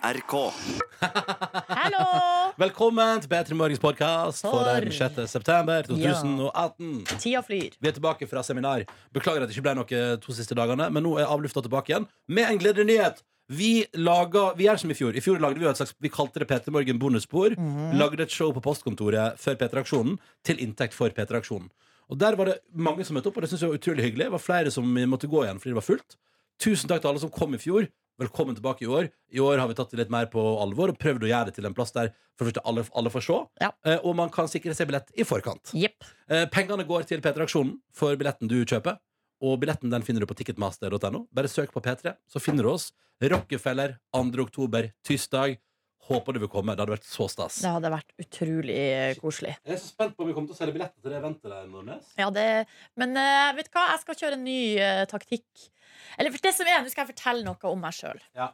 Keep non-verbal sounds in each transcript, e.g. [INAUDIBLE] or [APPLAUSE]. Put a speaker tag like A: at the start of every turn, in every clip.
A: NRK.
B: Hallo!
C: Velkommen til P3 Morgens podkast for
B: For-
C: den 6. september 2018.
B: Tida flyr.
C: Vi er tilbake fra seminar. Beklager at det ikke ble noe to siste dagene, men nå er avlufta tilbake igjen med en gledelig nyhet. Vi laga, vi gjør som i fjor. I fjor lagde Vi jo et slags, vi kalte det P3 Morgen bonusspor. Lagde et show på postkontoret før P3-aksjonen til inntekt for P3-aksjonen. Og Der var det mange som møtte opp, og det synes jeg var utrolig hyggelig. Det var flere som måtte gå igjen fordi det var fullt. Tusen takk til alle som kom i fjor. Velkommen tilbake i år. I år har vi tatt det litt mer på alvor og prøvd å gjøre det til en plass der for det første alle, alle får se,
B: Ja.
C: eh, og man kan sikre seg billett i forkant.
B: Jepp.
C: Eh, Pengene går til P3-aksjonen for billetten du kjøper. Og billetten den finner du på ticketmaster.no. Bare søk på P3, så finner du oss. Rockefeller 2. oktober, tirsdag. Håper du vil komme. Det hadde vært så stas.
B: Det hadde vært utrolig koselig.
C: Jeg er så spent på om vi kommer til å selge billetter til det eventet der. Nordnes.
B: Ja, det, men eh, vet du hva, jeg skal kjøre en ny eh, taktikk. Eller for det som er, Nå skal jeg fortelle noe om meg sjøl.
C: Ja.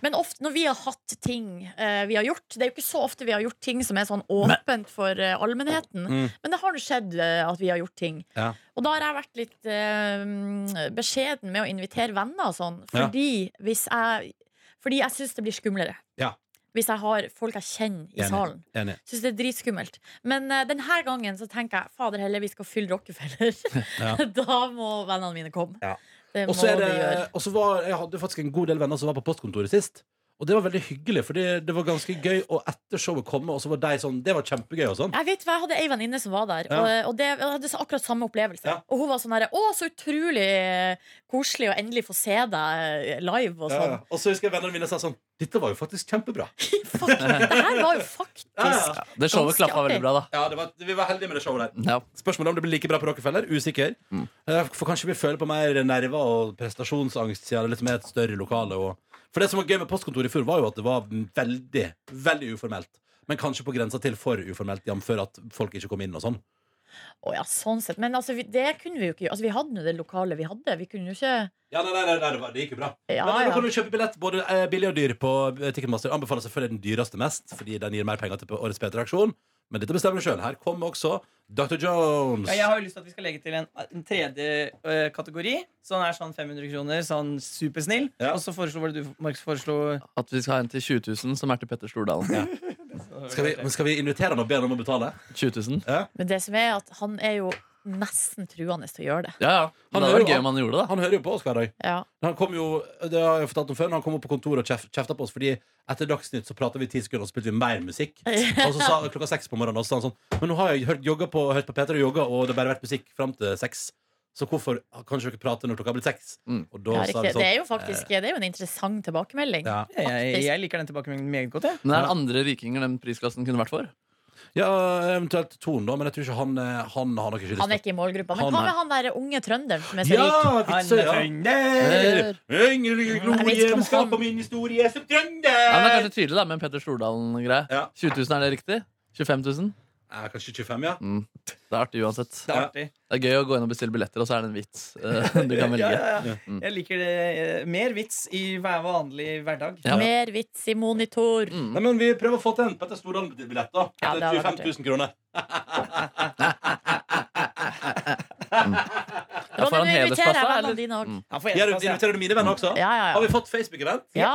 B: Men ofte når vi har hatt ting eh, vi har gjort Det er jo ikke så ofte vi har gjort ting som er sånn åpent for eh, allmennheten.
C: Mm.
B: Men det har nå skjedd eh, at vi har gjort ting.
C: Ja.
B: Og da har jeg vært litt eh, beskjeden med å invitere venner og sånn.
C: Ja.
B: Fordi, hvis jeg, fordi jeg syns det blir skumlere.
C: Ja.
B: Hvis jeg har folk jeg kjenner i
C: Enig.
B: salen.
C: Enig.
B: Syns det er dritskummelt. Men eh, denne gangen så tenker jeg fader heller, vi skal fylle Rockefeller.
C: [LAUGHS]
B: [LAUGHS]
C: Ja.
B: da må vennene mine komme.
C: Ja.
B: Det
C: Og
B: må
C: så er det,
B: de gjøre.
C: og så var, jeg hadde faktisk en god del venner som var på postkontoret sist. Og det var veldig hyggelig, for det, det var ganske gøy å etter showet komme, og så var de sånn Det var kjempegøy og sånn.
B: Jeg vet, hva, jeg hadde ei venninne som var der,
C: Ja.
B: og, og det, jeg hadde så akkurat samme opplevelse.
C: Ja.
B: Og hun var sånn herre Å, så utrolig koselig å endelig få se deg live og
C: Ja,
B: sånn.
C: ja. Og så husker jeg vennene mine sa sånn Dette var jo faktisk kjempebra.
B: [LAUGHS] Fuck, det her var jo faktisk
C: [LAUGHS] Ja, ja.
D: Det showet
B: Ganske
D: klaffa
B: artig.
D: veldig bra, da.
C: Ja, det var, Vi var heldige med det showet der.
D: Ja.
C: Spørsmålet om det blir like bra på Rockefeller? Usikker. Eh, For kanskje vi føler på mer nerver og prestasjonsangst siden det liksom er et større lokale. Og... For det som var gøy med postkontoret i fjor, var jo at det var veldig, veldig uformelt. Men kanskje på grensa til for uformelt, jf. at folk ikke kom inn og sånn.
B: Å ja, sånn sett. Men altså, vi, det kunne vi jo ikke gjøre. Altså, vi hadde nå det lokalet vi hadde. Vi kunne jo ikke
C: Ja, nei, nei, nei, nei, det var- det gikk jo bra.
B: Ja,
C: men, nei,
B: ja.
C: Nå kan du kjøpe billett både eh, billig og dyr på eh, Ticketmaster. Anbefaler selvfølgelig den dyreste mest, fordi den gir mer penger til årets P3-aksjon. Men dette bestemmer du sjøl. Her kommer også Dr. Jones.
E: Ja, jeg har jo lyst til at vi skal legge til en, en tredje eh, kategori. Sånn er sånn 500 kroner, sånn supersnill.
C: Ja.
E: Og så foreslo var det du, Markus, foreslo
D: At vi skal ha en til 20 000, som er til Petter Stordalen.
C: Skal vi, men skal vi invitere han og be han om å betale?
D: 20 000.
B: Men det som er at han er jo nesten truende til å gjøre det.
D: Ja, ja. Men
C: Han
D: det hadde
C: hører
D: vært
C: jo-
D: gøy om han gjorde det. da
C: Han hører jo på oss hver dag.
B: Ja.
C: Men Han kom jo, det har jeg fortalt om før men Han kom opp på kontoret og kjef- kjefta på oss Fordi etter Dagsnytt så pratet vi i 10 sekunder Og spilte vi mer musikk Og så sa klokka 6 på morgenen Og så sa han sånn Men nå har jeg hørt, jogga på, hørt på Peter og jogga Og det har bare vært musikk frem til 6 Så hvorfor kan ikke dere prate når klokka har blitt 6
D: Mm.
B: Ja,
C: Og da sa
B: riktig.
C: vi
B: Det er
C: sånn
B: jo faktisk det er jo en interessant tilbakemelding.
C: ja.
E: jeg, jeg liker den tilbakemeldingen meget godt. Jeg.
D: Men er det andre rikinger den prisklassen kunne vært for?
C: ja, eventuelt Ton da Men jeg tror ikke han, eh, han har nok ikke lyst
B: Han er ikke i målgruppa. Men
C: Han
B: hva
C: er-
B: med han der unge trønderen som er så
C: Ja,
B: rik?
C: vitser, ja
D: Nei,
C: Yngre
B: Jeg vet
C: glo
B: ikke om
C: hjemskap
B: han-
C: på min historie
D: men
C: som
D: det er
C: trønder
D: kanskje tydelig da, med en Petter Stordalen-greie.
C: Ja.
D: 20 000, er det riktig? 25 000?
C: Ja, Kanskje 25, ja
D: Mm. Det er artig uansett.
E: Det er artig.
D: Det er gøy å gå inn og bestille billetter, og så er det en vits eh, [LAUGHS] du kan
E: Ja,
D: velge.
E: ja, ja.
D: Mm.
E: Jeg liker det. eh, Mer vits i hver vanlig hverdag.
D: Ja.
B: Mer vits i monitor.
C: Mm. Nei, men vi prøver å få til en Petter Stordalen-billett da
B: Ja,
C: Etter
B: det hadde vært
C: 25 000 kroner
D: Ja, får han
B: nå inviterer jeg
D: hedersplass, da,
B: vennene
D: eller?
B: dine òg.
D: Mm.
E: Ja, for
C: Ja,
E: en
C: du
E: plass, ja.
C: inviterer du mine venner også?
B: Ja, ja,
C: Har
B: ja.
C: vi fått Facebook-event?
B: ja.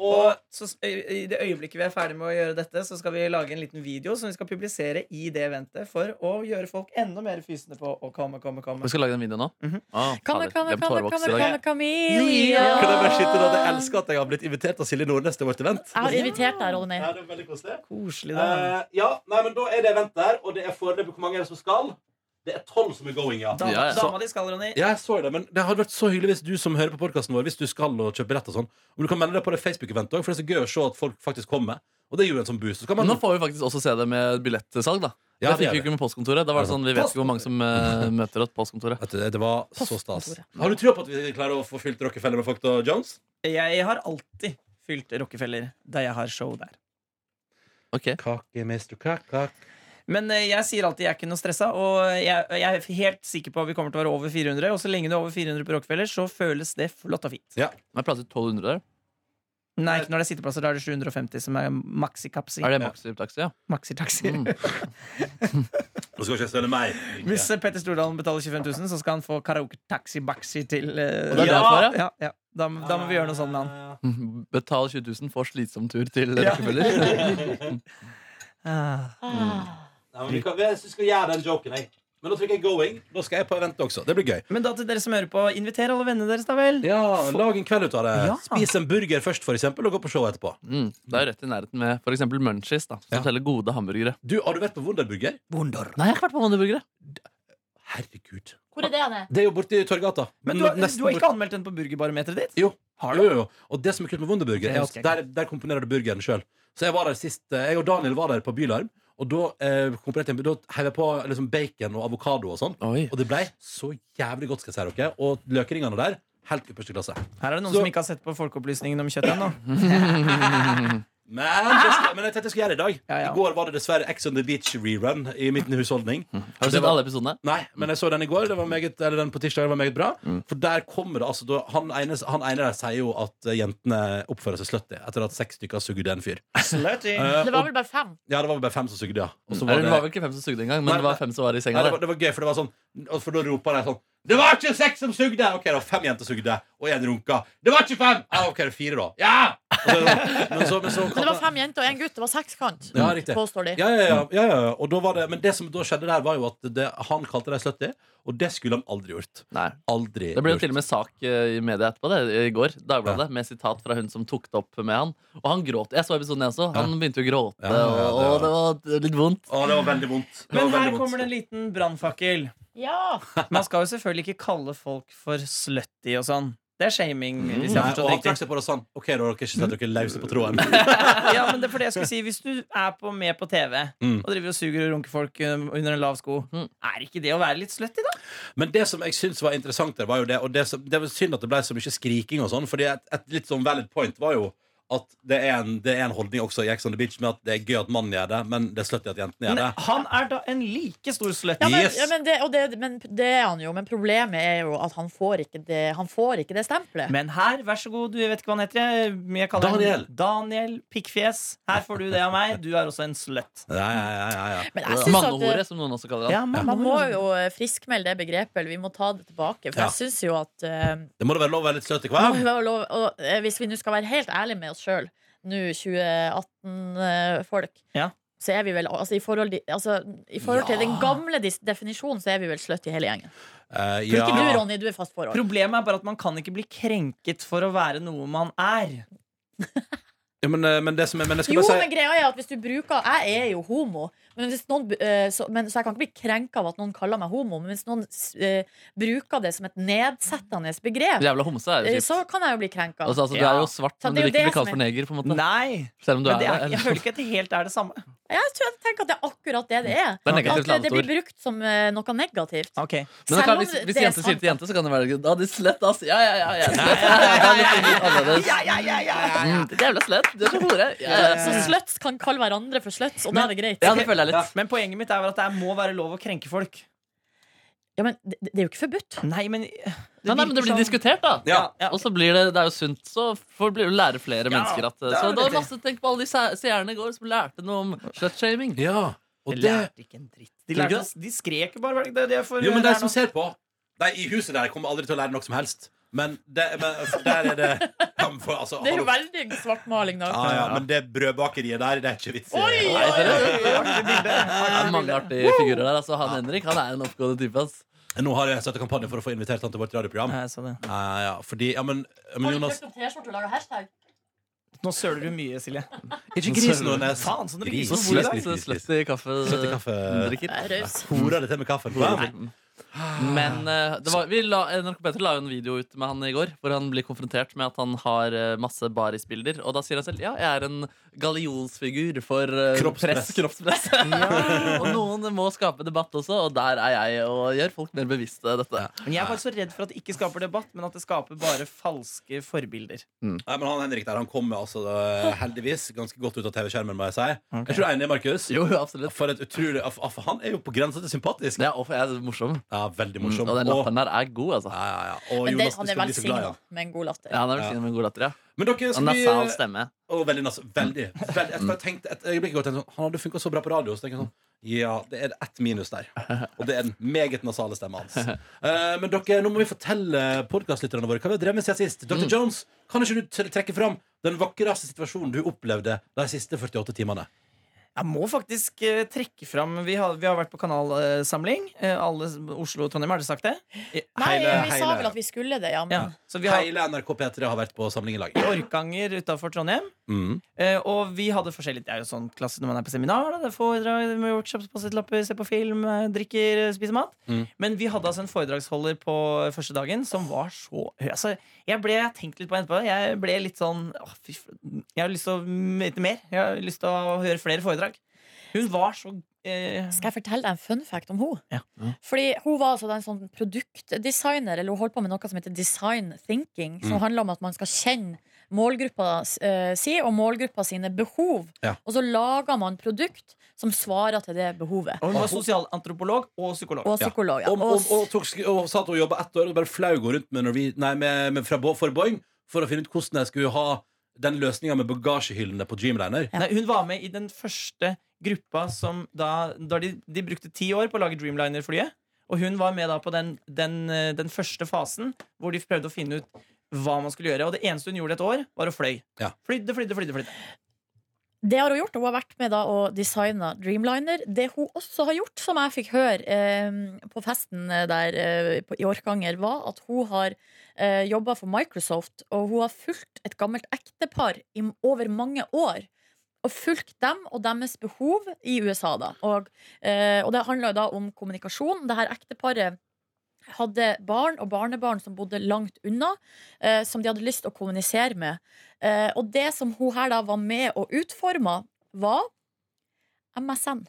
E: Og
C: Og
E: så, s- i i det øyeblikket vi er ferdig med å gjøre dette, så skal vi lage en liten video som vi skal publisere i det eventet for å gjøre folk enda mer fysende på å komme, komme, komme.
D: Vi skal lage den videoen nå.
E: Mhm.
D: Ah,
B: Come,
D: fader,
B: come,
D: det er
B: come,
D: tårevoks i
B: come,
D: dag.
B: come,
C: Kan jeg bare skyte da
B: Camilla.
C: at jeg elsker at jeg har blitt invitert av Silje Nordnes til vårt event?
B: Jeg har invitert deg, Ronny.
C: Ja, det er veldig koselig.
E: Koselig, da.
C: Eh, ja, nei, men da er det event der, og det er foreløpig hvor mange er det som skal? Det er tolv som er going, ja.
E: Dama,
D: Ja, ja.
E: dama di skal, Ronny.
C: Ja, jeg så det, men det hadde vært så hyggelig hvis du som hører på podcasten vår, hvis du skal og kjøper rett og sånn, og du kan melde deg på det Facebook-eventet også, for det er så gøy å se at folk faktisk kommer. Og det gir jo en sånn boost. Så kan
D: Men
C: man...
D: nå får vi faktisk også se det med billettsalg, da.
C: Ja,
D: det
C: det
D: fikk vi
C: gjør
D: ikke med postkontoret. Da var det sånn, Vi vet ikke hvor mange som eh, møter oss på
C: [LAUGHS]
D: postkontoret.
C: Vet du, det var så stas.
B: Postkontoret.
C: Har du tro på at vi klarer å få fylt Rockefeller med folk og Jones?
E: Jeg har alltid fylt Rockefeller der jeg har show der.
D: Ok
C: Kake, Mr. Kaka.
E: Men eh, jeg sier alltid jeg er ikke noe stressa, og jeg, jeg er helt sikker på at vi kommer til å være over 400. Og så lenge du er over 400 på Rockefeller, så føles det flott og fint.
D: Men jeg pratet 1200 der.
E: Nei, ikke når det er sitteplasser. Da er det 750 som er maxi-kapsi.
D: Er det maxitaxi? Ja.
E: Maxi-taxi.
D: Mm.
C: Nå skal ikke jeg stjele meg.
E: [LAUGHS] Hvis eh, Petter Stordalen betaler 25 000, så skal han få karaoke-taxi-baxi til eh,
D: Og det er
E: ja,
D: derfor,
E: ja, ja. Da, må- da må vi gjøre noe sånn med han.
D: [LAUGHS] Betal 20 000 for slitsom tur til Rockefeller.
E: Ah.
B: Ah.
C: Nei, men vi kan- Jeg synes vi skal gjøre den joken, jeg. Men nå trykker jeg going. Da skal jeg på event også. Det blir gøy.
E: Men da til dere som hører på, inviter alle vennene deres, da vel.
C: Ja, Lag en kveld ut av det.
E: Ja.
C: Spis en burger først, for eksempel, og gå på show etterpå.
D: Mm, det er rett i nærheten med f.eks. Munchies, da, som
C: Ja.
D: selger gode hamburgere.
C: Du, Har du vært på Wunderburger?
D: Nei, jeg har ikke vært på Wonderburgere.
C: Herregud.
B: Hvor er det han er?
C: Det er jo borti Torgata.
E: Men du,
C: Men
E: har-
C: nesten
E: du har
C: bort-
E: ikke anmeldt den på burgerbarometeret ditt?
C: Jo. Jo, jo, jo. Og det som er kult med Wunderburger,
E: Det
C: er at
E: husker jeg
C: der, der komponerer du burgeren sjøl. Så jeg var der sist eh, Jeg og Daniel var der på Bylarm, og da eh, komponerte jeg Da heiv jeg på liksom bacon og avokado og sånn.
D: Oi.
C: Og det blei så jævlig godt, skal jeg si dere. Og løkringene der, helt ypperste klasse.
E: Her er det noen
C: Så-
E: som ikke har sett på Folkeopplysningen om kjøtt ennå.
C: Men, det skal, men jeg tenkte jeg skulle gjøre det i dag.
E: Ja, ja. Mm.
C: I går var det dessverre Ex on the Beach rerun i min husholdning.
D: Har du
C: Det
D: sett
C: var-
D: alle episodene?
C: Nei, men jeg så den i går. Det var meget, eller den på tirsdag var meget bra.
D: Mm.
C: For der kommer det altså da, han, ene, han ene der sier jo at eh, jentene oppfører seg slutty etter at seks stykker har sugd en fyr.
E: Slutty.
C: Eh,
B: Det var vel bare fem.
C: Ja, det var vel bare fem som sugde, ja. Og så
D: Mm. Det
C: var det,
D: var vel ikke fem som sugde engang, men
C: Nei,
D: det var fem som var i
C: nei,
D: senga
C: det,
D: der.
C: var, det var gøy, for det var sånn og For da ropa de sånn Det var ikke seks som sugde! OK, da fem jenter sugde, og én runka. Det var ikke fem! Ja, OK, det er fire, da. Ja! Og så, er det sånn, men så, men så
B: Men det var fem jenter og én gutt. Det var sekskant,
C: Ja, riktig.
B: påstår de.
C: ja, ja, ja, ja, ja. Og da var det, men det som da skjedde der, var jo at det, han kalte dem slutty, og det skulle han aldri gjort.
D: Nei.
C: Aldri
D: Det ble jo
C: gjort.
D: til og med sak eh, i media etterpå, det, i går, Dagbladet, med sitat fra hun som tok det opp med han. Og han gråt. Jeg så episoden, jeg også. Han begynte å gråte,
C: Ja, ja, ja,
D: og,
C: det
D: og det var litt vondt.
C: Å, det var veldig vondt. Det
E: Men
C: var
E: her
C: veldig
E: kommer det
C: vondt.
E: en liten brannfakkel.
B: Ja.
E: Man skal jo selvfølgelig ikke kalle folk for slutty og sånn. Det er shaming.
C: Mm.
E: hvis jeg
C: Nei,
E: har
C: og han
E: forstått
C: trakk
E: riktig
C: seg på det sånn. OK, da har dere ikke sett dere løse på tråden.
E: [LAUGHS] ja, men det er for det jeg skulle si Hvis du er på, med på TV
C: Mm.
E: og driver og suger og runker folk um, under en lav sko,
D: Mm.
E: er ikke det å være litt slutty, da?
C: Men det som jeg syns var interessant der, var jo det Og det, som, det var synd at det ble så mye skriking og sånn, Fordi et, et litt sånn valid point var jo at det er, en, det er en holdning også i Ex on the Beach med at det er gøy at mannen gjør det, men det er slutty at jentene gjør det.
E: Men han er da en like stor slutty.
B: Ja, men,
C: Yes.
B: ja, men, det, og det, men det er han jo, men problemet er jo at han får ikke det, han får ikke det stempelet.
E: Men her, vær så god, du vet ikke hva han heter. Jeg, jeg kaller
C: Daniel.
E: han Daniel Pikkfjes. Her får du det av meg. Du er også en slutt.
C: Ja, ja, ja, ja, ja.
B: Men jeg synes at
D: Mannehore,
B: eh,
D: som noen også kaller han.
E: man,
B: man må jo eh, friskmelde det begrepet, eller vi må ta det tilbake. For
C: Ja.
B: jeg synes jo at eh,
C: Det må da være lov å være litt slutty, hva?
B: må jo være lov, og, eh, Hvis vi nå skal være helt ærlige med oss sjøl, nå 2018-folk
E: Ja.
B: Så er vi vel, altså I forhold, di- altså, i forhold til den gamle dis definisjonen så er vi vel sløtt i hele gjengen.
C: Eh,
B: For ikke du,
C: ja.
B: Ronny, du er fast forhold.
E: Problemet er bare at man kan ikke bli krenket for å være noe man er.
C: Ja, men, eh, men det som er Men jeg skal
B: Jo,
C: bare si
B: men greia er at hvis du bruker Jeg er jo homo, men hvis noen, eh, så, men, så jeg kan ikke bli krenka av at noen kaller meg homo. Men hvis noen eh, bruker det som et nedsettende begrep,
D: Jævla homse er
B: eh,
D: jo
B: så
D: kjipt.
B: kan jeg jo bli krenka.
D: Altså, altså, du
E: Ja.
D: er jo svart,
B: Så
D: men
B: det
D: du vil
B: er jo
D: ikke
B: det
D: bli kalt
B: som
D: for neger. på en måte
E: Nei,
D: Selv om du
E: men
D: er
E: det er,
D: det.
E: jeg føler ikke at det helt er det samme.
B: Jeg tror jeg tenker at det er akkurat det det er.
D: Det er negativt
B: At det, det
D: ladet ord.
B: blir brukt som eh, noe negativt.
E: Ok
D: Men da
B: Selv
D: kan,
B: om
D: hvis,
B: det
D: hvis
B: er
D: jente sier
B: sant,
D: til jente, så kan det være Da, de slett, ass. Ja, ja, ja. ja, slett.
E: ja, ja, ja, ja, ja.
D: Mm, det er Jævla slett. Du er så hore. Ja, ja, ja.
B: Så sluts kan kalle hverandre for sluts, og da er det greit.
D: ja, det føler jeg litt.
E: Men poenget mitt er vel at det må være lov å krenke folk.
B: Ja, men det, det er jo ikke forbudt.
E: Nei, men det,
D: Nei, nei, men det
E: virker
D: blir
E: som-
D: diskutert, da.
E: Ja, ja.
D: Og så blir det, det er jo sunt, så får blir det lære flere mennesker at
E: det er
D: Så
E: det
D: da er
E: riktig.
D: masse tenk på alle de se- seerne i går som lærte noe om slutshaming.
C: Ja.
E: De
C: Og det
E: lærte ikke en dritt. De,
D: Tror du
E: lærte, de skrek jo bare. hva er det- Det er det for eh,
C: Jo, men de
E: det er
C: som
E: noe-
C: ser på De i huset der kommer aldri til å lære noe som helst. Men, det, men for der er det
B: [LAUGHS]
C: ja, men for, altså,
B: Det er jo
C: hallo.
B: veldig svartmaling, da.
C: ja, ja, Men det brødbakeriet der, det er ikke vits i.
B: Oi, oi,
C: Nei,
B: oi.
D: Det er mange artige figurer der. Altså, han Henrik han er en oppgående type. Ass.
C: Nå har jeg satt en kampanje for å få invitert han til vårt radioprogram.
E: Nei, jeg så det.
C: Eh, ja, fordi, ja, men, ja, men
B: Har du
C: Jonas
B: kjøpt opp T-skjorte og laga hashtag?
E: Nå søler du mye, Silje.
C: Ikke gris nå, Nes.
E: Faen, sånn det blir
C: Gris.
D: Så
E: så
C: Slett.
E: hvor
D: slett,
C: gris, gris.
D: slett i kaffe,
C: Slett i kaffe.
D: drikker.
B: Det er raus.
C: Hora det til med kaffen. Wow.
D: Men eh, det var, vi la, NRK P3 la jo en video ut med han i går hvor han blir konfrontert med at han har eh, masse barisbilder. Og da sier han selv ja, jeg er en gallionsfigur for eh,
C: Kroppspress.
D: press, kroppspress. og noen må skape debatt også, og der er jeg og gjør folk mer bevisste dette.
E: Men Jeg er bare så redd for at det ikke skaper debatt, men at det skaper bare falske forbilder.
C: Nei, men han Henrik der, han kommer altså eh, heldigvis ganske godt ut av TV-skjermen, må jeg si.
E: Ok.
C: Jeg tror du er enig, Markus?
D: Jo, jo, absolutt.
C: For et utrolig ah, for Han er jo på grensa til sympatisk.
D: Det er, off, jeg er morsom.
C: Ja, veldig
D: Mm,
C: morsom.
D: og den
C: Og-
D: latteren der er god, altså.
C: Ja, ja, ja. Og
B: Men det,
C: Jonas,
B: han
C: du
B: er
C: skal bli så glad, ja.
B: velsigna med en god latter.
D: Ja, han er velsignet med en god latter, ja.
C: Men dere
D: Han
C: skal
D: har
C: vi
D: sal stemme.
C: Å, veldig, nas- veldig, veldig. Jeg, jeg tenkte et øyeblikk og tenkte sånn, Han hadde funka så bra på radio. Så tenkte jeg sånn Ja, det er ett minus der. Og det er den meget nasale stemmen
D: [LAUGHS]
C: hans. Eh, men dere, nå må vi fortelle podkastlytterne våre hva vi har drevet med siden sist. Dr.
D: Mm.
C: Jones, kan ikke du tre- trekke fram den vakreste situasjonen du opplevde de siste 48 timene?
E: Jeg må faktisk eh, trekke fram Vi har, vi har vært på kanalsamling. Eh, alle s- Oslo og Trondheim, har dere sagt det?
B: Nei,
C: Hele-
B: vi sa
C: hele-
B: vel at vi skulle det, ja. Men
E: Ja. Så vi har i
C: Hele NRK P3 har vært på samling i lag.
E: Orkanger utafor Trondheim.
C: Mm.
E: Eh, og vi hadde forskjellig Det er jo sånn klasse når man er på seminar. Da. Det er foredrag, med workshops, post-it-lapper, ser på film, eh, drikker, eh, spiser mat.
C: Mm.
E: Men vi hadde altså en foredragsholder på eh, første dagen som var så høy. Altså, jeg ble jeg har tenkt litt på det etterpå. Jeg ble litt sånn åh, fy, f- Jeg har lyst til å vite mer. Jeg har lyst til å høre flere foredrag. Hun var så eh,
B: skal jeg fortelle deg en fun fact om henne?
E: Ja.
B: Fordi hun var altså en sånn produktdesigner, eller hun holdt på med noe som heter design thinking, som
C: Mm.
B: handler om at man skal kjenne målgruppa eh, si og målgruppa sine behov.
C: Ja.
B: Og så lager man produkt som svarer til det behovet.
E: Og hun var sosialantropolog og psykolog.
B: Og psykolog. Ja.
C: Om, om, og, tok, sk- og sa at hun jobba ett år og bare flau gå rundt med, Norwe- nei, med, med fra, Bo- for Boeing for å finne ut hvordan jeg skulle ha den løsninga med bagasjehyllene på Dreamliner.
B: Ja.
E: Nei, hun var med i den første gruppa som da, da de, de brukte ti år på å lage Dreamliner-flyet. Og hun var med da på den, den, eh, den første fasen hvor de prøvde å finne ut hva man skulle gjøre. Og det eneste hun gjorde et år, var å fløy.
C: Ja.
E: Flydde, flydde, flydde. flydde.
B: Det har hun gjort, og hun har vært med da og designa Dreamliner. Det hun også har gjort, som jeg fikk høre eh, på festen der eh, på, i Orkanger, var at hun har eh, jobba for Microsoft, og hun har fulgt et gammelt ektepar i, over mange år. Og fulgt dem og deres behov i USA, da. Og, eh, og det handla da om kommunikasjon. Det her ekteparet hadde barn og barnebarn som bodde langt unna, eh, som de hadde lyst til å kommunisere med. Eh, og det som hun her da var med og utforma, var MSN.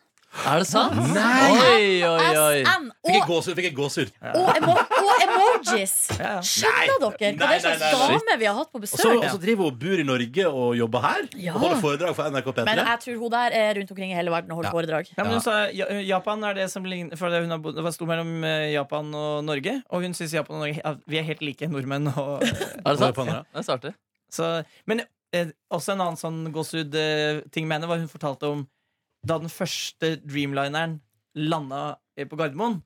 D: Er det sant?
C: Nei!
D: Oi, oi, oi.
B: SN
C: Fikk jeg
B: og,
C: gåsehud? Fikk jeg gåsehud?
B: og, emo og
C: [LAUGHS]
B: emojis!
E: Ja.
B: Skjønner dere hva
C: Nei,
B: det er slags
C: nei, nei, nei.
B: dame vi har hatt på
C: Og så, og
B: besøk?
C: så driver hun og bor i Norge og jobber her?
B: Ja.
C: Og holder foredrag for NRK P3?
B: Men jeg tror hun der er rundt omkring i hele verden og holder
C: Ja.
B: foredrag.
E: Ja, men
C: Ja.
E: hun sa ja, Japan er det som ligner For hun har bodd- det var sto mellom eh, Japan og Norge. Og hun syns Japan og Norge ja, Vi er helt like nordmenn. Og,
D: Er det
C: Hva er det
D: sant?
C: på andre?
D: Det er starter.
E: så, men eh, også en annen sånn gåsehud-ting med henne var hun fortalte om da den første Dreamlineren landa eh, på Gardermoen.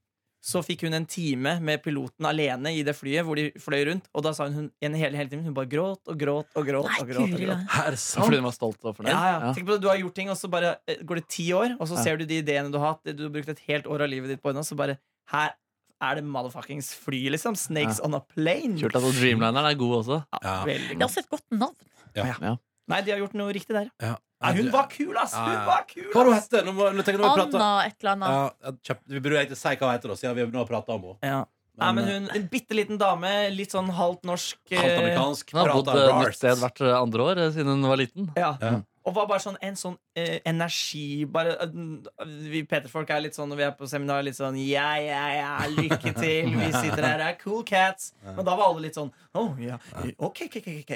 E: Så fikk hun en time med piloten alene i det flyet hvor de fløy rundt. Og da sa hun, hun en hele, hele timen Hun bare gråt og gråt og gråt.
B: Nei,
E: og gråt, og
B: Guri
E: gråt.
B: land.
C: Er det
D: Fordi
C: sant?
D: hun var stolt og fornøyd?
E: Ja, ja. Tenk på det, Du har gjort ting, og så bare eh, går det ti år, og så
D: Ja.
E: ser du de ideene du har hatt. det Du har brukt et helt år av livet ditt på henne, og så bare Her er det motherfuckings fly, liksom. Snakes on a plane.
D: Kult at Dreamlineren er god også.
E: Ja,
C: Ja.
E: veldig
B: Det er
E: godt.
B: også et godt navn.
E: Nei, de har gjort noe riktig der.
C: Ja.
E: Nei, hun var kul, ass!
C: Ja, ja.
E: Hun var kul,
C: Hva var hun
E: ass!
C: hette? Nå må, nå tenker jeg nå har vi pratet-
B: Anna et eller annet.
C: Ja, kjapt. vi burde egentlig si hva hun heter, da, siden vi nå har prata om henne.
E: Ja. Nei, men hun, En bitte liten dame, litt sånn halvt norsk. eh,
C: Halvt amerikansk.
D: Hun har
C: prater
D: bodd eh,
C: bars.
D: nytt sted hvert eh, andre år eh, siden hun var liten.
E: Ja.
C: Ja.
E: Og var bare sånn en sånn eh, energi bare, eh, Vi Peter-folk er litt sånn når vi er på seminar, litt sånn Ja, ja, ja, lykke til, vi sitter her, det er cool cats. Men da var alle litt sånn Oh, ja, ok, ok, ok, ok.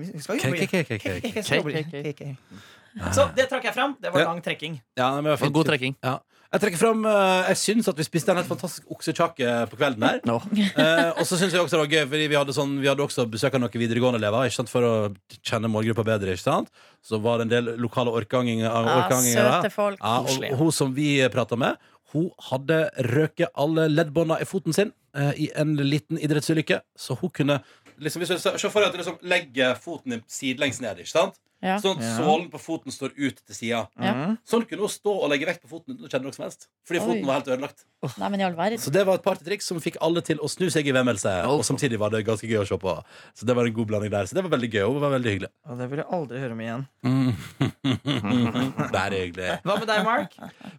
E: Vi skal jobbe.
C: Ok, ok, ok, ok,
E: Ok, ok, skal jobbe.
D: Ok, ok,
E: Ok. Så det trakk jeg fram. Det var
C: Ja.
E: lang trekking.
C: Ja, nei, men det var
D: Og
C: fint.
D: god trekking.
C: Ja. Jeg trekker fram, eh, jeg syns at vi spiste en helt fantastisk oksekjakke på kvelden her.
D: No.
C: [LAUGHS] Eh, og så synes jeg også det var gøy, fordi vi hadde, sånn, vi hadde også besøk av noen videregående elever ikke sant, for å kjenne målgruppa bedre. ikke sant? Så var det en del lokale orkanginger. eh,
B: Ja,
C: orkanginger
B: søte
C: der.
B: folk.
C: ja, og, og hun som vi prata med, hun hadde røket alle leddbånda i foten sin eh, i en liten idrettsulykke. Så hun kunne liksom, hvis du ser- Se for deg at du liksom legger foten din sidelengs ned. ikke sant?
B: Ja.
C: Sånn at sålen på foten står ut til sida.
B: Ja.
E: Mhm.
C: Sånn kunne hun stå og legge vekt på foten uten å kjenne noe som helst. Fordi
B: Oi.
C: foten var helt ødelagt.
B: Nei, men i all verden.
C: Så det var et partytriks som fikk alle til å snu seg i vemmelse. Og samtidig var det ganske gøy å se på. Så det var en god blanding der. Så det var veldig gøy. Og det var veldig hyggelig.
E: Og det vil jeg aldri høre om igjen.
C: Det er hyggelig.
E: Hva med deg, Mark?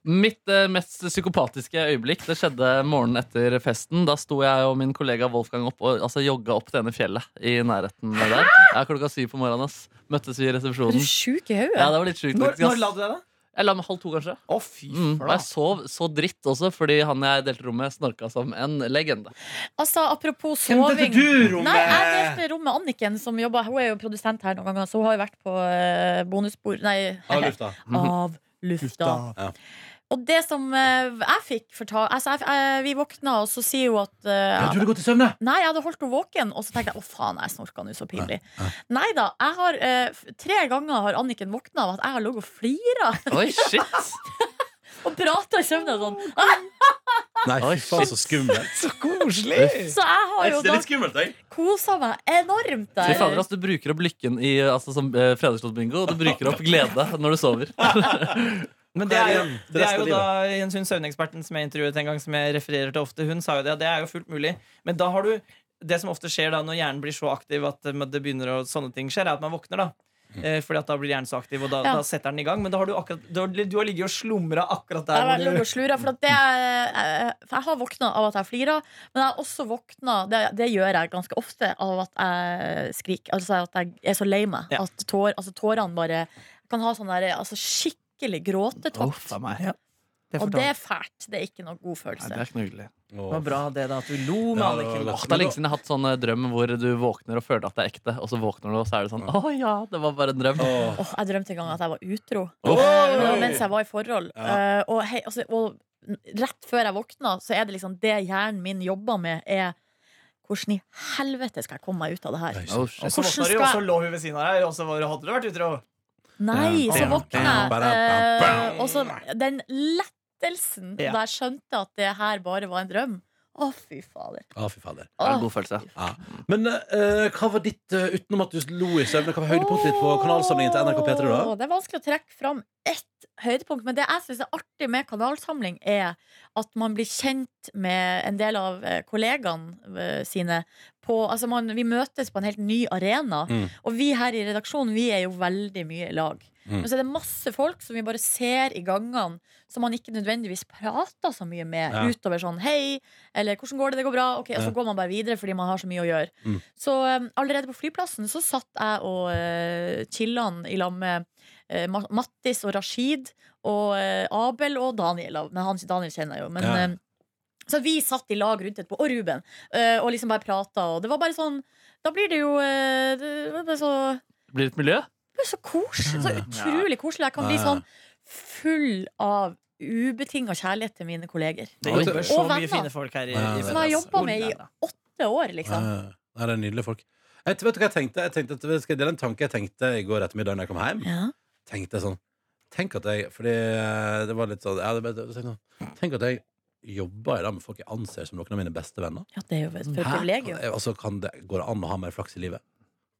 D: Mitt eh, mest psykopatiske øyeblikk Det skjedde morgenen etter festen. Da sto jeg og min kollega Wolfgang opp og altså, jogga opp det ene fjellet i nærheten der. Ja, klokka syv på morgenen. ass Møttes vi i
B: Er du
D: resepsjonen.
B: sjuk i
D: Ja,
B: hodet?
D: det var litt sjukt.
E: Når,
D: faktisk, ass.
E: når la du deg, da?
D: Jeg la meg halv to, kanskje.
E: Å, fy
D: Mm. Og jeg
E: flate.
D: sov så dritt også, fordi han jeg delte rom med, snorka som en legende.
B: Altså, apropos
C: Hvem delte
B: soving.
C: du
B: Nei, jeg
C: rommet?
B: delte rom med Anniken, som jobber Hun er jo produsent her noen ganger, så hun har jo vært på eh, bonusbord Nei,
C: Av lufta.
D: Mhm.
B: av lufta.
C: Ja.
B: Og det som eh, jeg fikk fortalt altså, jeg, jeg, Vi våkna, og så sier hun at eh,
C: Jeg tror det går til søvne.
B: Nei, jeg hadde holdt henne våken, og så tenkte jeg å faen, jeg snorka nå, så pinlig. Nei da. Jeg har, eh, f- tre ganger har Anniken våkna av at jeg har ligget og flira.
D: Oi, shit!
B: og prata i søvne og sånn.
C: Nei, fy faen, så skummelt.
A: Så koselig!
B: Så Altså, jeg har jo
C: Det er
B: da
C: litt skummelt, jeg.
B: kosa meg enormt
D: [LAUGHS] Fy
B: der.
D: fader, ass, du bruker opp lykken i altså, som eh, fredagslottbingo, og du bruker opp glede når du sover.
E: Men det er, jo,
C: Igjen, til
E: det er
C: resten
E: jo
C: av
E: da Jens Hund, søvneksperten som jeg intervjuet en gang, som jeg refererer til ofte, hun sa jo det. Det er jo fullt mulig. Men da har du det som ofte skjer da når hjernen blir så aktiv at eh, det begynner å, sånne ting skjer, er at man våkner, da. Eh, Fordi at da blir hjernen så aktiv, og da,
B: Ja.
E: da setter den i gang. Men da har du, akkurat, du, har, du har ligget og slumra
B: Jeg
E: akkurat der.
B: har
E: hvor
B: ligget og slura, for, at det er, eh, for jeg har våkna av at jeg flirer. Men jeg har også våkna, det, det gjør jeg ganske ofte, av at jeg skriker. Altså at jeg er så lei meg.
E: Ja.
B: At tår, altså, tårene bare jeg kan ha sånn der, altså, skikkelig gråtetokt.
E: du, meg. Ja. Det,
B: og det
E: fortalte-
B: er fælt. Det er ikke noen god følelse.
D: ikke noe hyggelig.
E: det var bra det, da, at du lo med
C: Ja, det var
E: Anniken.
C: lett.
D: Åh, det er lenge siden jeg har hatt sånn eh, drøm hvor du våkner og føler at det er ekte, og så våkner du, og så er det sånn Å ja, det var bare en drøm.
C: Åh.
B: Åh, jeg drømte en gang at jeg var utro.
C: Oi!
B: Men det var mens jeg var i forhold.
C: Ja.
B: Eh, og, hei, altså, og rett før jeg våkna, så er det liksom det hjernen min jobber med, er hvordan i helvete skal jeg komme meg ut av det her?
C: Oi,
D: Oh, shit. Altså,
E: Og så
B: Hvordan
E: våkna du,
B: skal
E: og
B: jeg-
E: så lå hun ved siden av deg, og så var- hadde du vært utro.
B: Nei,
C: Bam,
B: så
C: bam,
B: våkna
C: bam,
B: jeg.
C: bam,
B: eh, Og så den lettelsen
E: Ja.
B: da jeg skjønte at det her bare var en drøm. Å, fy fader.
C: Å, fy fader.
D: Det er en
B: Åh.
D: god følelse.
C: Ja. Men eh, hva var ditt, eh, utenom at du lo i søvne, hva var høydepunktet ditt på kanalsamlingen til NRK P3 da?
B: Åh, Det er vanskelig å trekke fram ett høydepunkt, men det jeg syns er artig med kanalsamling, er at man blir kjent med en del av eh, kollegaene eh, sine. På, altså man, vi møtes på en helt ny arena,
C: Mm.
B: og vi her i redaksjonen vi er jo veldig mye i lag.
C: Mm.
B: Men så er det masse folk som vi bare ser i gangene, som man ikke nødvendigvis prater så mye med.
C: Ja.
B: Utover sånn 'hei', eller 'hvordan går det', det går bra. Ok, Og
C: Ja.
B: så går man bare videre fordi man har så mye å gjøre.
C: Mm.
B: Så um, allerede på flyplassen så satt jeg og uh, chillan i lag med eh, Ma- Mattis og Rashid og eh, Abel og Daniel. Men han, Daniel kjenner jeg jo. Men,
C: Ja.
B: eh, så vi satt i lag rundt etterpå, og Ruben, eh, og liksom bare prata. Og det var bare sånn Da blir det jo eh, det var bare så
D: Det blir et miljø.
B: det er så koselig. Så utrolig koselig. Jeg kan bli
C: Ja.
B: sånn full av ubetinga kjærlighet til mine kolleger.
E: Det
C: Oi.
E: jobber så
B: Og venner.
E: mye fine folk her. i,
C: Ja,
E: i
B: Som
C: ja,
B: jeg har
E: Vestnes.
B: jobba med i
E: Olala.
B: åtte år, liksom.
C: Ja, ja. Ah, Nei, det er nydelige folk. Jeg, vet du hva jeg tenkte? Jeg tenkte at, skal jeg dele en tanke jeg tenkte i går ettermiddag når jeg kom hjem?
B: Ja.
C: Tenkte jeg sånn Tenk at jeg Fordi eh, det var litt sånn ja, det, det, det, tenkte jeg sånn, Tenk at jeg jobber i dag med folk jeg anser som noen av mine beste venner.
B: ja, det er jo et
C: Hæ?
B: privilegium.
C: Kan- Altså, kan det, går det an å ha mer flaks i livet?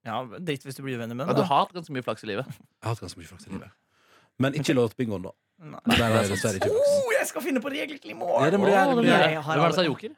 E: Ja, Dritt hvis du blir venner med
D: Ja, du
E: den.
D: har hatt ganske mye flaks i livet.
C: Jeg har hatt ganske mye flaks i livet. Men ikke låtbingoen, da.
E: da. Nei.
C: Der var jeg dessverre ikke flaks.
E: Oh, jeg skal finne på regler til i morgen!
C: Ja, det må du gjøre, det må du
E: Åh,
B: gjøre.
E: jeg har
D: Hvem er det som
E: alle-
D: er joker?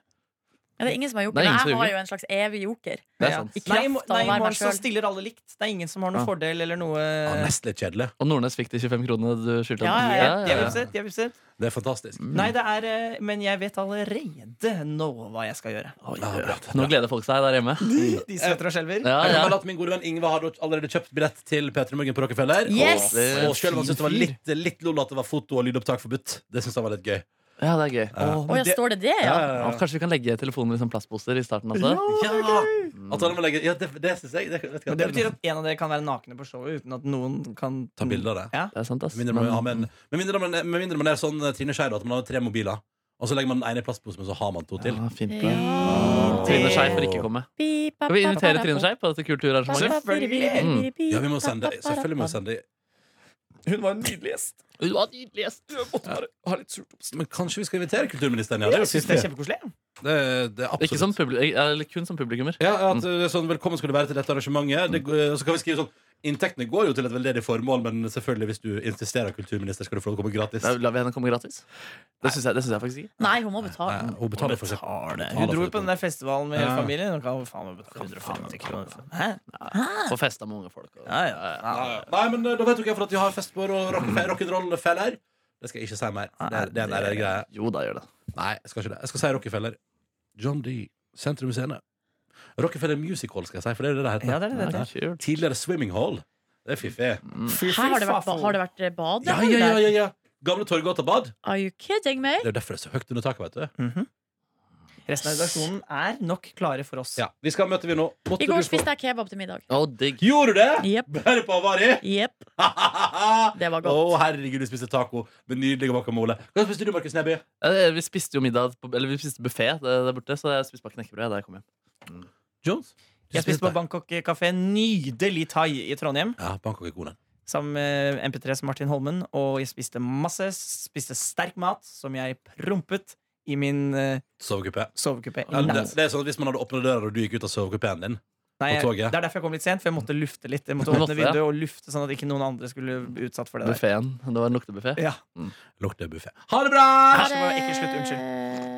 B: Ja, det er ingen som har joker.
D: Det er ingen som
B: Jeg
D: har
B: har
D: joker.
B: jo en slags evig joker.
D: Det er
E: Ja.
D: sant.
B: I
E: Nei, i
B: kraft
E: mor-
B: av å
E: nei, i
B: være
E: morgen
B: meg
E: så
B: sjøl.
E: stiller alle likt. Det er ingen som har noen
D: Ja.
C: Ah.
E: fordel eller noe
C: Ja, nesten litt kjedelig.
D: Og Nordnes fikk de 25 kronene du skyldte
B: Ja,
D: ham.
B: ja,
E: De er vipset, de er vipset.
C: Det er fantastisk.
E: Nei, det er eh, Men jeg vet allerede nå hva jeg skal gjøre.
C: Ja, bra,
D: Nå gleder folk seg der
C: [LAUGHS]
D: hjemme.
E: [LAUGHS] De svetter og skjelver.
D: Ja,
C: Jeg kan
D: ja.
C: melde at Min gode venn Ingve hadde allerede kjøpt billett til P3 Morgen på Rockefeller.
B: Yes!
C: Og, og Eh, selv om han syntes det var litt, litt lol at det var foto- og lydopptak forbudt, det synes han var litt gøy.
D: ja, det er gøy.
E: Åh,
B: Å
E: men
B: ja,
E: det,
B: står det det, ja?
D: Ja,
C: Ja,
D: kanskje vi kan legge telefonen i sånn plastposer i starten også?
C: ja. At han må legge, ja, det, det synes jeg. Det, vet ikke,
E: men det betyr at en av dere kan være nakne på showet uten at noen kan
C: Ta bilde av det.
E: Ja.
D: Det er sant, ass.
C: Med mindre man, har med en- med mindre man, med mindre man er sånn eh, Trine Skei, da, at man har tre mobiler. Og så legger man den ene i plastposen, men så har man to til.
D: ja, Ah, fint det.
B: Ja.
D: Trine Skei får ikke komme. Skal vi invitere Trine Skei på dette kulturarrangementet?
B: Selvfølgelig.
C: Ja, vi må sende, Selvfølgelig må vi sende
E: Hun var en nydelig gjest.
D: Hun var nydelig gjest.
C: Men kanskje vi skal invitere kulturministeren? Ja, det er
E: Jeg
C: jo
E: syns det er
C: fiffig.
E: kjempekoselig.
C: Det, det er
D: Ikke
C: absolutt
D: som publi eller kun som publikummer.
C: Ja, at
E: Mm.
C: det er sånn, Velkommen skal du være til dette arrangementet. Det, og så kan vi skrive sånn Inntektene går jo til et veldedig formål, men selvfølgelig hvis du insisterer, kulturminister, skal du få lov til å komme gratis.
D: Da lar vi henne komme gratis. Det syns jeg, det synes jeg faktisk ikke.
B: Nei, hun må betale.
C: Nei, hun betaler for seg.
E: Hun dro jo på den der festivalen med hele
C: Ja.
E: familien. Hun kan jo faen meg betale 150 kroner. for- Hæ? Ah.
D: Få festa med unge folk. Og.
E: Ja, ja, ja.
C: Ja, ja. Nei, men eh, da vet du ikke hvorfor at vi har fest på rock- eh, rock'n'roll-feller. Det skal jeg ikke si mer. Det er, det er en ærlig greie.
D: Jo da, gjør det.
C: Nei, jeg skal ikke det. Jeg skal si Rockefeller. John D. Sentrum Scene. Rockefeller Music Hall, skal jeg si, for det er det det heter.
E: Ja, det er det det heter.
D: Kult.
C: Tidligere Swimming Hall. Det er fiffig.
B: Her har det vært, har det vært eh,
C: Ja,
B: badehall
C: ja, ja,
B: der?
C: ja, ja. Gamle Torgata bad.
B: Are you kidding me?
C: Det er jo derfor det er så høyt under taket, vet du.
E: Resten av redaksjonen er nok klare for oss.
C: Ja, Vi skal ha møte, vi nå. Måtte
B: I går
C: du få-
B: spiste jeg kebab til middag.
D: Å, digg.
C: Gjorde du det?
B: Jepp.
C: Bare på [LAUGHS] Avari?
B: Jepp. Det var
C: Å,
B: godt.
C: herregud, du spiste taco med nydelig guacamole. Hva spiste du, Markus Neby?
D: Ja, det- Vi spiste jo middag på, Eller vi spiste buffé der borte, så jeg spiste bare knekkebrød da jeg kom hjem.
C: Jones?
E: Jeg spiste på Bangkok kafé. Nydelig thai i Trondheim.
C: Ja, Bangkok er god, den.
E: sammen med MP3s Martin Holmen, og jeg spiste masse, spiste sterk mat, som jeg prompet i min eh,
C: Sovekupé.
E: sovekupé
C: Ja,
E: i
C: det,
E: natt.
C: det er sånn at Hvis man hadde åpnet døra og du gikk ut av sovekupeen din
E: Nei,
C: på toget.
E: jeg, det er derfor jeg kom litt sent, for jeg måtte lufte litt. Jeg måtte
D: Du
E: åpne
D: måtte, ja.
E: vinduet og lufte, sånn at ikke noen andre skulle bli utsatt for det der.
D: Buffeen. Det var en luktebuffé.
E: Ja.
C: Lukter buffé. Ha det bra!
E: Æsj, det var ikke slutt, unnskyld.
B: det.